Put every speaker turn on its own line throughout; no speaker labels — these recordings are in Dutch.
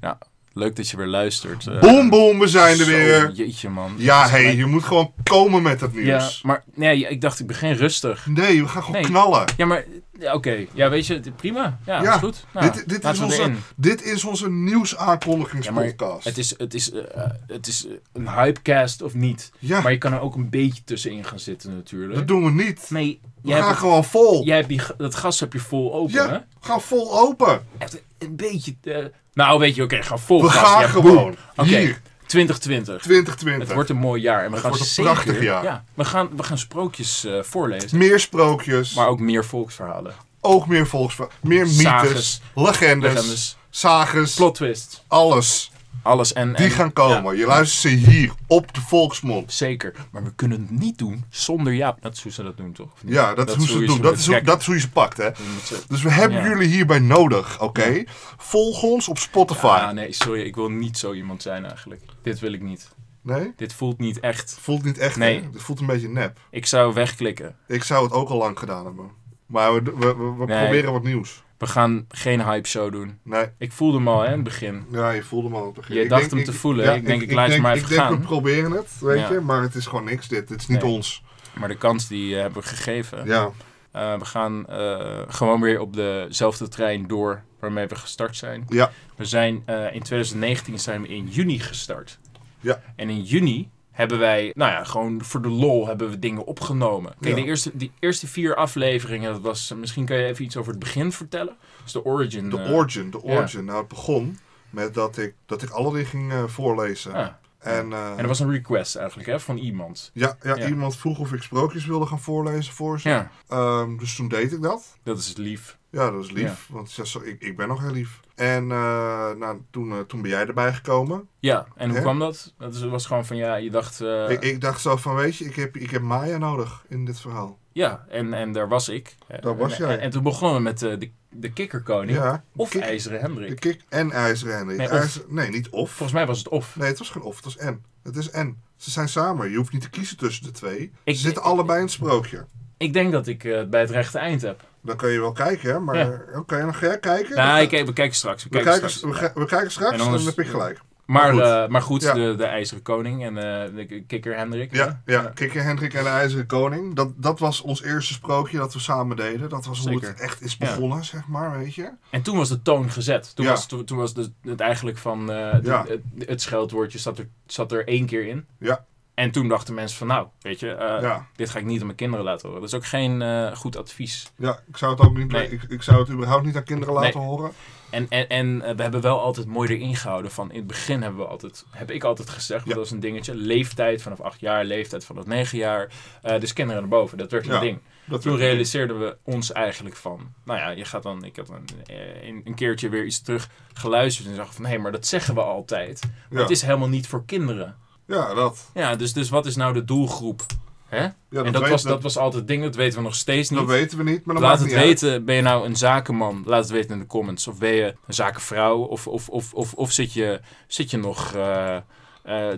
Ja, leuk dat je weer luistert. eh.
Boom, boom, we zijn er
Zo,
weer.
Jeetje, man.
Ja,
Dat is
hé,
gelijk-
je moet gewoon komen met het
Ja,
nieuws.
maar nee, ik dacht ik begin rustig.
Nee, we gaan gewoon
Nee.
knallen.
Ja, maar ja, oké. Ja, weet je, het- prima. Ja,
Ja,
is goed. Nou,
dit, dit, is
laten we
onze,
erin.
dit is onze
Ja, maar
nieuwsaankondigingspodcast. Ja,
Het is, het is, eh, eh, het is eh, een hypecast of niet. Maar je kan er ook een beetje tussenin gaan zitten natuurlijk.
dat doen we niet.
Nee,
We
jij hebt,
gaan
het-
gewoon vol.
jij hebt die, g- dat gas heb je vol open,
Ja.
hè?
We gaan vol open.
Echt een- een beetje... eh, nou, weet je, oké, ga vol
We
gas.
gaan
Ja, boem.
gewoon.
Oké,
Hier,
2020. Het
2020.
wordt een mooi jaar. En we
Het
gaan
wordt een
zeker-
prachtig jaar.
Ja, we, gaan, we gaan sprookjes eh, voorlezen.
Meer sprookjes,
Maar ook meer volksverhalen.
ook meer volksverhalen, meer mythes,
Sages.
legendes,
Legendes.
sages,
Plot twist.
alles.
Alles en...
Die
en-
gaan komen. Je luistert ze hier, op de Volksmond.
Zeker. Maar we kunnen het niet doen zonder Jaap. Dat is hoe ze dat doen, toch? Of niet?
Ja, dat, is hoe ze het doen. Dat is hoe,
Kijk,
dat is hoe je ze pakt, hè.
je moet ze-
Dus we hebben
Ja.
jullie hierbij nodig, oké? Volg ons op Spotify.
Ah, nee, sorry. Ik wil niet zo iemand zijn eigenlijk. Dit wil ik niet.
Nee?
Dit voelt niet echt.
Voelt niet echt,
Nee.
hè? Het voelt een beetje nep.
Ik zou wegklikken.
Ik zou het ook al lang gedaan hebben. Maar we, we, we, we
Nee.
proberen wat nieuws.
We gaan geen hype show doen.
Nee.
Ik voelde hem al, hè, in het begin.
Ja, je voelde hem al aan het begin.
Je
Ik
dacht
denk-
hem te voelen. Ik denk, ik laat
denk,
je maar
ik
even
denk,
gaan.
we proberen het, weet
Ja.
je. Maar het is gewoon niks dit. Het is niet
Nee.
ons.
Maar de kans die eh, hebben we gegeven.
Ja.
Eh, we gaan eh, gewoon weer op dezelfde trein door waarmee we gestart zijn.
Ja.
We zijn eh, in 2019 zijn we in juni gestart.
Ja.
En in juni hebben wij, nou ja, gewoon voor de lol hebben we dingen opgenomen. Kijk,
Ja.
de eerste, die eerste vier afleveringen, dat was, misschien kan je even iets over het begin vertellen. Dus de origin.
De
eh,
origin, de
ja.
origin. Nou, het begon met dat ik, dat ik Aladdin ging eh, voorlezen.
ja.
En, eh,
ah, En dat was een request eigenlijk, hè, van iemand.
ja, ja,
ja.
iemand vroeg of ik sprookjes wilde gaan voorlezen voor ze.
Ja,
Ehm, dus toen deed ik dat.
dat is lief.
Ja, dat is lief. Want ze zei, ik, ik ben nog heel lief. En eh, nou, toen, eh, toen ben jij erbij gekomen.
Ja, en hoe
Hè?
kwam dat? Dat is- was gewoon van, ja, je dacht... eh,
Ik, ik dacht zo van, weet je, ik heb, ik heb Maya nodig in dit verhaal.
Ja, en, en daar was ik.
Daar was
en,
jij.
En, en toen begonnen we met eh, de, de kikkerkoning.
Ja.
Of
Kik-
IJzeren
De
Hendrik.
kick en IJzeren Henry.
Nee,
Nee,
of.
nee, niet of.
Volgens mij was het of.
Nee, het was geen of, het was en. Het is en. Ze zijn samen. Je hoeft niet te kiezen tussen de twee.
Ik-
Ze zitten allebei in het sprookje.
Ik denk dat ik eh, het bij het rechte eind heb.
Dan kun je wel kijken, hè? Maar
Ja.
oké, dan ga jij kijken.
Nou,
we,
ik, we kijken straks. We
we,
kijken
kijken,
straks.
we, ga- we kijken straks
En
en
dan
dan,
is-
heb ik gelijk.
Maar
goed.
goed, maar goed
Ja.
de, de IJzeren Koning en eh, de k- kikker Hendrik.
Ja,
hè?
ja. Kikker Hendrik en de IJzeren Koning. Dat, dat was ons eerste sprookje dat we samen deden. Dat was hoe het
Zeker.
echt is
Ja.
begonnen, zeg maar, weet je.
En toen was de toon gezet. Toen
Ja.
was, toen, toen was de, het eigenlijk van... eh, de-
Ja.
het, het scheldwoordje zat er, zat er één keer in.
Ja.
En toen dachten mensen van, nou, weet je, eh,
ja.
dit ga ik niet aan mijn kinderen laten horen. Dat is ook geen eh, goed advies.
ja, ik zou het ook niet...
Nee.
Ik, ik zou het überhaupt niet aan kinderen
Nee.
laten horen.
En, en, en eh, we hebben wel altijd mooi erin gehouden van in het begin hebben we altijd, heb ik altijd gezegd, want
Ja.
dat was een dingetje, leeftijd vanaf acht jaar, leeftijd vanaf negen jaar, eh, dus kinderen naar boven, dat werd een
Ja,
ding.
Dat
Toen realiseerden we ons eigenlijk van, nou ja, je gaat dan, ik heb dan eh, een, een keertje weer iets terug geluisterd en zag van, hé, maar dat zeggen we altijd, maar
Ja.
het is helemaal niet voor kinderen.
Ja, dat.
Ja, dus, dus wat is nou de doelgroep? Hè?
Ja,
en dat,
weet-
was, dat was altijd het ding, dat weten we nog steeds niet.
dat weten we niet, maar dat
Laat
maakt
het
niet uit.
weten, ben je nou een zakenman? Laat het weten in de comments. Of ben je een zakenvrouw? Of, of, of, of, of zit, je, zit je nog eh, eh,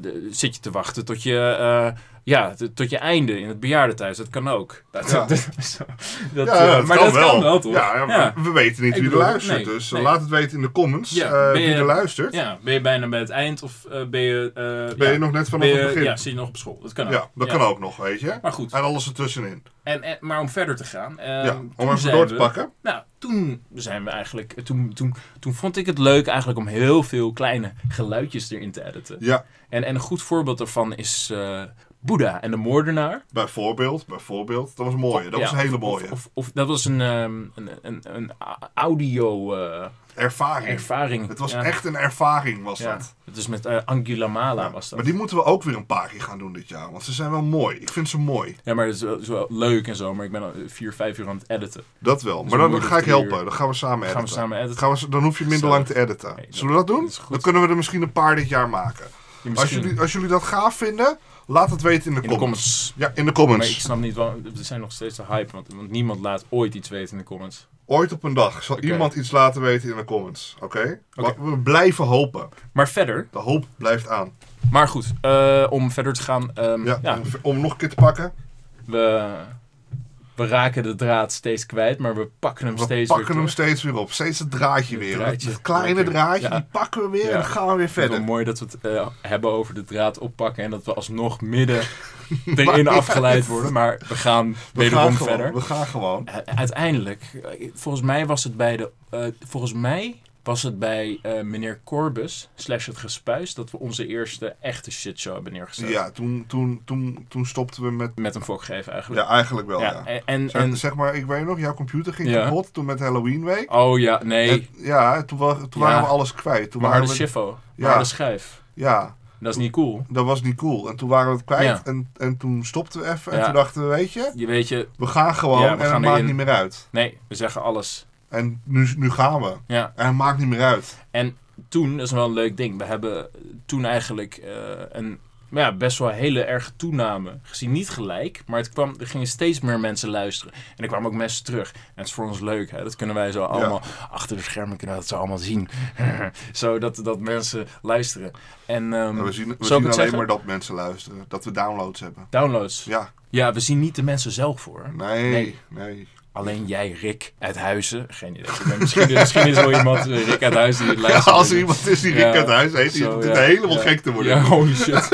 de- zit je te wachten tot je, eh, ja, t- tot je einde in het bejaardentehuis? Dat kan ook. Dat,
Ja.
dat- zo. Dat,
Ja,
eh,
dat
maar
kan
dat
wel.
kan wel, toch?
Ja, ja,
Ja.
we- we weten niet
Ik
wie er
bedoel,
laat
nee,
dus
nee.
laat het weten in de comments
Ja,
eh,
ben
wie
je-
er luistert.
Ja, ben je bijna bij het eind? Of eh, ben je... eh,
Ben je
ja,
nog net vanaf
ben je-
het begin?
Ja,
Ja,
zit je nog op school? Dat kan ook.
dat kan ook nog, weet je.
Maar goed,
En alles ertussenin.
en, en, maar om verder te gaan. eh,
ja,
toen
om even
zijn
door te
we-
pakken.
Nou, toen zijn we eigenlijk. eh, Toen, toen, toen vond ik het leuk eigenlijk om heel veel kleine geluidjes erin te editen.
Ja,
En, en een goed voorbeeld daarvan is eh Boeddha en de moordenaar.
bijvoorbeeld, bijvoorbeeld. Dat was mooi, dat was
Ja,
een hele
of-
mooie
Of, of dat was een, ehm, een, een, een eh, audio-ervaring.
ervaring. Ah, Het was echt een ervaring, was
Ja,
dat.
het is met eh, Angela Mala
Ja,
was dat.
Maar die moeten we ook weer een paar keer gaan doen dit jaar, want ze zijn wel mooi. Ik vind ze mooi,
Ja, maar het is wel, is wel leuk en zo. Maar ik ben al vier, vijf uur aan het editen.
dat wel.
Dus
Maar
we
dan
moeten
ga ik
drie uur-
helpen, dan gaan we samen
Gaan
editen.
we samen editen?
Gaan we s- dan hoef je minder
Gezellig.
lang te editen.
Nee, dat-
Zullen we dat doen?
dat is goed.
Dan kunnen we er misschien een paar dit jaar maken.
Ja,
Als
misschien
jullie, als jullie dat gaaf vinden, laat het weten in de,
in de comments.
comments. Ja, in de
Maar
comments.
ik snap niet waarom. Er zijn nog steeds de hype, want, want niemand laat ooit iets weten in de comments.
Ooit op een dag zal
Oké.
iemand iets laten weten in de comments. Oké?
Oké.
Maar We blijven hopen.
Maar verder,
De hoop blijft aan.
maar goed, eh, om verder te gaan. ehm,
Ja,
ja,
Om, om nog een keer te pakken.
we, we raken de draad steeds kwijt, maar we pakken hem
We
steeds
pakken
weer
hem
terug.
steeds weer op. Steeds het draadje
Het
weer.
draadje.
Het kleine
Oké.
draadje,
Ja.
die pakken we weer
Ja.
en dan gaan we weer
Ik vind het
verder.
wel mooi dat we het eh, hebben over de draad oppakken en dat we alsnog midden
Maar
erin
ja,
afgeleid
het-
worden. Maar we gaan
We
wederom
gaan,
verder.
gewoon, we gaan gewoon.
Eh, uiteindelijk, eh, volgens mij was het bij de. eh, volgens mij was het bij eh, meneer Corbus, slash het gespuis, dat we onze eerste echte shitshow hebben neergezet.
Ja, toen, toen, toen, toen stopten we met...
Met een fokgeven eigenlijk.
Ja, eigenlijk wel, ja.
En, en,
Zeg,
en-
zeg maar, ik weet nog, jouw computer ging
Ja.
kapot toen met Halloween week.
oh ja, nee.
En, ja, toen, wa- toen
Ja.
waren we alles kwijt. Toen
maar
waren
harde
we,
shiffo.
Ja.
Harde schijf.
ja,
Dat is niet cool.
dat was niet cool. En toen waren we het kwijt
Ja.
en, en toen stopten we even.
Ja.
En toen dachten we, weet je,
Je weet je,
we gaan gewoon
Ja, we
en
gaan
het maakt
erin.
niet meer uit.
nee, we zeggen alles.
En nu, nu gaan we.
Ja.
En het maakt niet meer uit.
toen, dat is wel een leuk ding. We hebben toen eigenlijk eh, een ja, best wel hele erge toename gezien. Niet gelijk, maar het kwam, er gingen steeds meer mensen luisteren. En er kwamen ook mensen terug. En het is voor ons leuk. Hè? Dat kunnen wij zo allemaal achter de schermen kunnen we dat zo allemaal zien. zo dat, dat mensen luisteren. En ehm,
En we zien, we
zal ik het
zien alleen
zeggen?
maar dat mensen luisteren. Dat we downloads hebben.
downloads.
Ja,
Ja, we zien niet de mensen zelf voor.
nee,
Nee.
nee.
Alleen jij, Rick, uit Huizen. Geen idee. Ik ben- Misschien, misschien is er wel iemand, eh, Rick uit Huizen, die het
Ja,
luistert. eh,
als er iemand is die Rick
Ja,
uit huis heet, die
Zo,
zit
ja,
helemaal
ja.
gek te worden.
Ja, holy shit.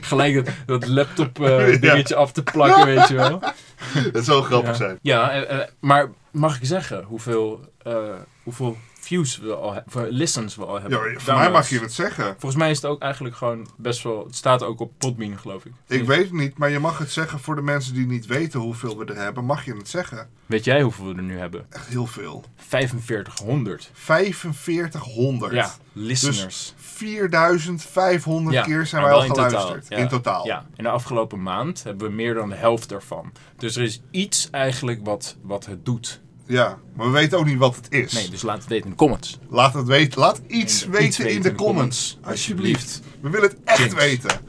Gelijk dat, dat laptop eh,
Ja.
dingetje af te plakken, weet je wel.
Dat zou grappig
ja.
zijn.
Ja, eh, eh, maar mag ik zeggen hoeveel, eh, hoeveel views we al hebben, of, eh, listens we al
Ja,
hebben?
maar voor mij
Downloads.
mag je het zeggen.
Volgens mij is het ook eigenlijk gewoon best wel, het staat ook op Podbean geloof ik.
Ik weet het niet, maar je mag het zeggen voor de mensen die niet weten hoeveel we er hebben. Mag je het zeggen?
Weet jij hoeveel we er nu hebben?
Echt heel veel.
4500.
4500.
Ja, listeners.
4500
Ja,
keer zijn
maar
wij al
wel in totaal,
geluisterd.
ja.
In totaal.
Ja, in de afgelopen maand hebben we meer dan de helft daarvan. Dus er is iets eigenlijk wat, wat het doet.
Ja, maar we weten ook niet wat het is.
Nee, dus laat het weten in de comments.
Laat het weten. Laat iets
In de-
weten
iets
in de, comments. Alsjeblieft. We willen het echt
Thanks.
weten.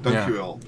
Dankjewel.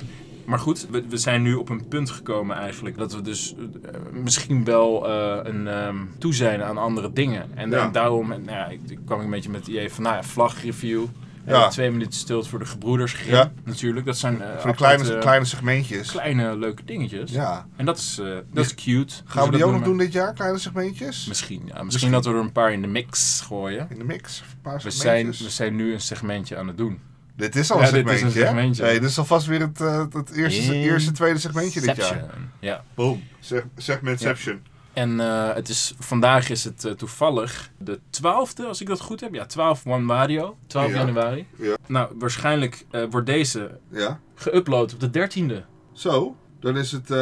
Maar goed, we, we zijn nu op een punt gekomen eigenlijk. Dat we dus eh, misschien wel eh, een ehm toe zijn aan andere dingen. En,
Ja.
en daarom eh, nou ja, ik, ik kwam een beetje met het idee van, nou ja, vlagreview. Eh,
Ja.
twee minuten stilte voor de gebroeders. Grimm,
Ja.
Natuurlijk, dat zijn eh,
Voor de kleine,
aparte,
kleine segmentjes.
kleine leuke dingetjes.
Ja.
En dat is, eh, dat is cute.
Gaan we die ook nog doen
Misschien,
dit jaar? Kleine segmentjes?
misschien, ja, misschien dat we er een paar in de mix gooien.
In de mix? Een paar
We zijn,
segmentjes?
we zijn nu een segmentje aan het doen.
Dit is al een
Ja, dit is een
segmentje. hè?
segmentje.
Hey, dit is alvast weer het, eh, het eerste,
In-
eerste, tweede segmentje dit jaar.
Inception. Ja.
Boom. Seg segmentception.
En eh, het is, vandaag is het eh, toevallig de 12e, als ik dat goed heb. Ja, 12 Mario, 12
Ja.
januari.
Ja.
Nou, waarschijnlijk eh, wordt deze
Ja.
geüpload op de 13e.
Zo. Dan is het... eh,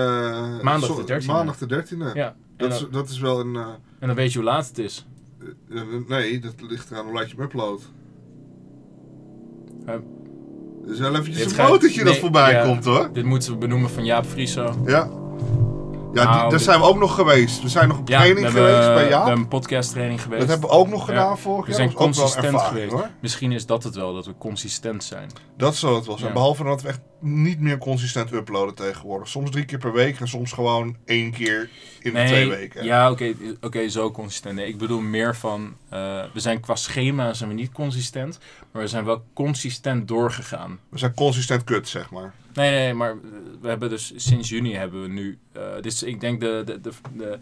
Maandag
zo-
de 13e.
Maandag de 13e.
Ja. En
Dat,
dan,
is, dat is wel een... eh,
en dan weet je hoe laat het is.
eh, nee, dat ligt eraan hoe laat je hem uploadt.
Eh,
Er is wel
dit
eventjes een
gaat-
motortje dat
nee,
voorbij
ja.
komt hoor.
Dit moeten we benoemen van Jaap Frieso.
Ja. Ja, die-
Nou,
daar
dit-
zijn we ook nog geweest. We zijn nog op
Ja,
training
we
geweest
hebben,
bij
we hebben
Jaap.
een podcast training geweest.
Dat hebben we ook nog
Ja.
gedaan vorig
we
jaar.
zijn
Dat was ook wel een
consistent
ervaring,
geweest.
hoor.
Misschien is dat het wel, dat we consistent zijn.
Dat zou het wel zijn.
Ja.
Behalve dat we echt niet meer consistent uploaden tegenwoordig. Soms drie keer per week en soms gewoon één keer in de twee weken.
Ja, oké, oké, zo consistent. Nee, ik bedoel meer van, eh, we zijn qua schema zijn we niet consistent, maar we zijn wel consistent doorgegaan.
We zijn consistent kut, zeg maar.
Nee, nee, nee, maar eh, we hebben dus sinds juni hebben we nu, eh, dit is ik denk de, de, de, de,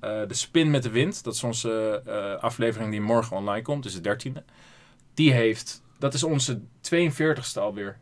eh, de spin met de wind, dat is onze eh, aflevering die morgen online komt, dus de 13e. Die heeft, dat is onze 42ste alweer.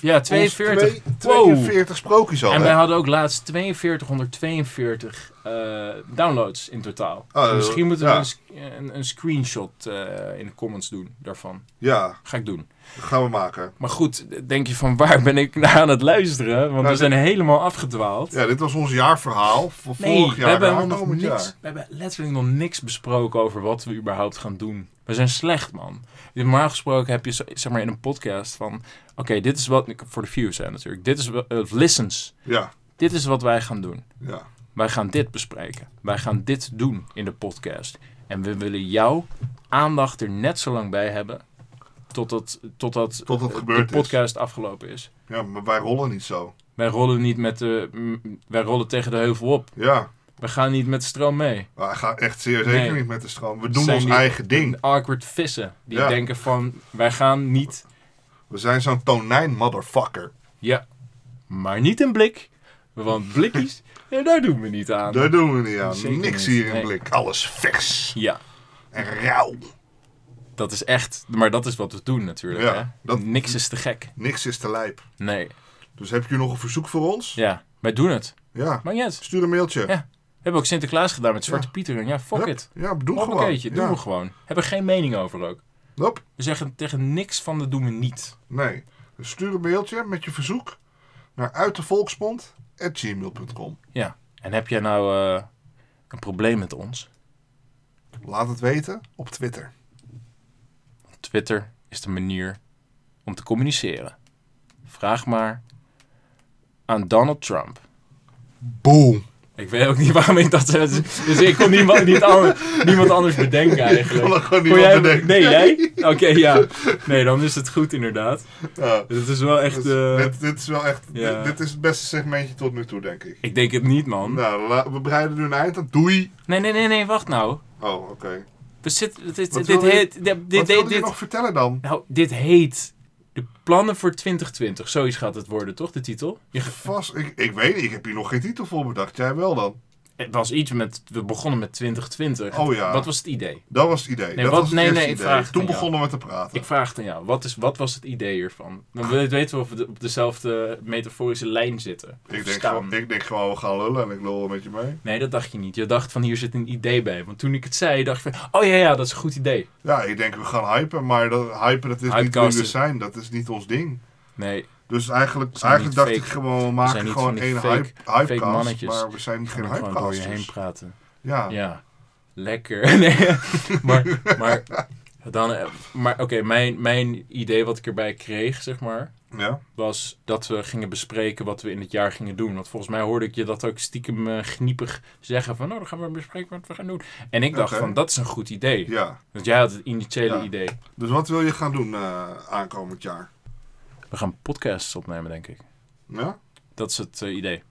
Ja, 42.
Ons twee-
Wow.
42 sprookjes al,
En
hè?
wij hadden ook laatst 4242 eh, downloads in totaal.
Oh,
Dus misschien moeten we
ja.
een, sc- een, een screenshot eh, in de comments doen daarvan.
Ja,
Ga ik doen.
dat gaan we maken.
Maar goed, denk je van waar ben ik naar aan het luisteren? Want
Nou,
we zijn helemaal afgedwaald.
Ja, dit was ons jaarverhaal voor
Nee,
vorig
we
jaar.
hebben,
Ja,
helemaal nog
komend
niks,
jaar.
we hebben letterlijk nog niks besproken over wat we überhaupt gaan doen. We zijn slecht, man. Normaal gesproken heb je zo- zeg maar, in een podcast van... Oké, dit is wat... Voor de views hè, natuurlijk. Dit is... wel- eh, listens.
Ja,
Dit is wat wij gaan doen.
ja.
Wij gaan dit bespreken. Wij gaan dit doen in de podcast. En we willen jouw aandacht er net zo lang bij hebben. Totdat, totdat,
Tot het
eh,
gebeurd
de
is.
podcast afgelopen is.
ja, maar wij rollen niet zo.
Wij rollen niet met de. mm, wij rollen tegen de heuvel op.
Ja,
We gaan niet met de stroom mee.
wij gaan echt zeer
Nee.
zeker niet met de stroom. We doen
Zijn
ons
die-
eigen ding.
De awkward vissen. Die
Ja.
denken van wij gaan niet.
We zijn zo'n tonijn motherfucker.
Ja, maar niet een blik. Want blikjes, ja, daar doen we niet aan.
Daar doen we niet aan.
Zeker
Niks
niet.
hier in
Nee.
blik. Alles vers
Ja,
en rauw.
dat is echt. Maar dat is wat we doen natuurlijk.
Ja,
hè?
dat-
Niks is te gek.
Niks is te lijp.
Nee.
Dus heb je nog een verzoek voor ons?
Ja, wij doen het.
Ja.
Maar yes.
Stuur een mailtje.
Ja. We hebben ook Sinterklaas gedaan met Zwarte
Ja.
Pieter. En ja, fuck
Hup.
it.
Ja, doe
Doe
gewoon.
Hoppakeetje, doen
ja.
we gewoon. Hebben geen mening over ook.
Hup.
We zeggen tegen niks van dat doen we niet.
Nee. Dus Stuur een mailtje met je verzoek naar uitdevolksmond.gmail.com.
Ja. En heb jij nou eh, een probleem met ons?
Laat het weten op Twitter.
Twitter is de manier om te communiceren. Vraag maar aan Donald Trump.
Boom.
Ik weet ook niet waarom ik dat zei. Dus- Dus ik kon niemand, niet ander- niemand anders bedenken eigenlijk.
Kon er gewoon
Kon
niemand bedenken.
Nee, jij? Oké, ja. Nee, dan is het goed inderdaad.
Ja.
Het is wel echt...
Dus
eh,
dit, dit is wel echt.
ja.
Dit, dit is het beste segmentje tot nu toe, denk ik.
Ik denk het niet, man.
Nou, la- we breiden nu een eind aan. Doei.
Nee, nee, nee, nee, wacht nou.
Oh, oké.
We zitten... Dit, dit,
Wat
dit,
wil je-
heet- dit,
Wat
dit,
wilde je
dit-
nog vertellen dan?
nou, dit heet... De plannen voor 2020. Zoiets gaat het worden, toch? De titel? Je, ge-
Vast, ik, ik weet niet, ik heb hier nog geen titel voor bedacht. Jij wel dan?
het was iets met... We begonnen met 2020.
Oh ja.
Wat was het idee?
Dat was het idee.
Nee,
dat
wat-
was het
nee,
eerste
nee, ik
idee.
vraag het
Toen
aan jou.
begonnen we te praten.
Ik vraag het aan jou. Wat, is, wat was het idee hiervan? Dan wil- weten we of we de- op dezelfde metaforische lijn zitten. Of
Ik denk,
staan.
gewoon, ik denk gewoon, we gaan lullen en ik lul met je mee.
Nee, dat dacht je niet. Je dacht van hier zit een idee bij. Want toen ik het zei, dacht ik van... Oh ja, ja, dat is een goed idee.
Ja, ik denk we gaan hypen, maar dat, hypen dat is niet wie
Hypecasten.
we zijn. Dat is niet ons ding.
Nee,
Dus eigenlijk,
zijn niet
eigenlijk dacht ik
fake.
gewoon, we
zijn
maken
niet
gewoon
van die
één
fake-
hype,
fake
hypecast,
mannetjes.
maar we zijn geen
ik gewoon door je heen
hypecasters.
praten.
Ja. ja.
Ja, lekker. Nee, maar maar, dan, eh, maar oké, mijn, mijn idee wat ik erbij kreeg, zeg maar, was dat we gingen bespreken wat we in het jaar gingen doen. Want volgens mij hoorde ik je dat ook stiekem eh, gniepig zeggen van, nou, dan gaan we bespreken wat we gaan doen. En ik dacht
Oké.
van, dat is een goed idee.
Ja.
Want jij had het initiële
Ja.
idee.
Dus wat wil je gaan doen eh, aankomend jaar?
We gaan podcasts opnemen, denk ik.
Ja?
Dat is het eh, idee.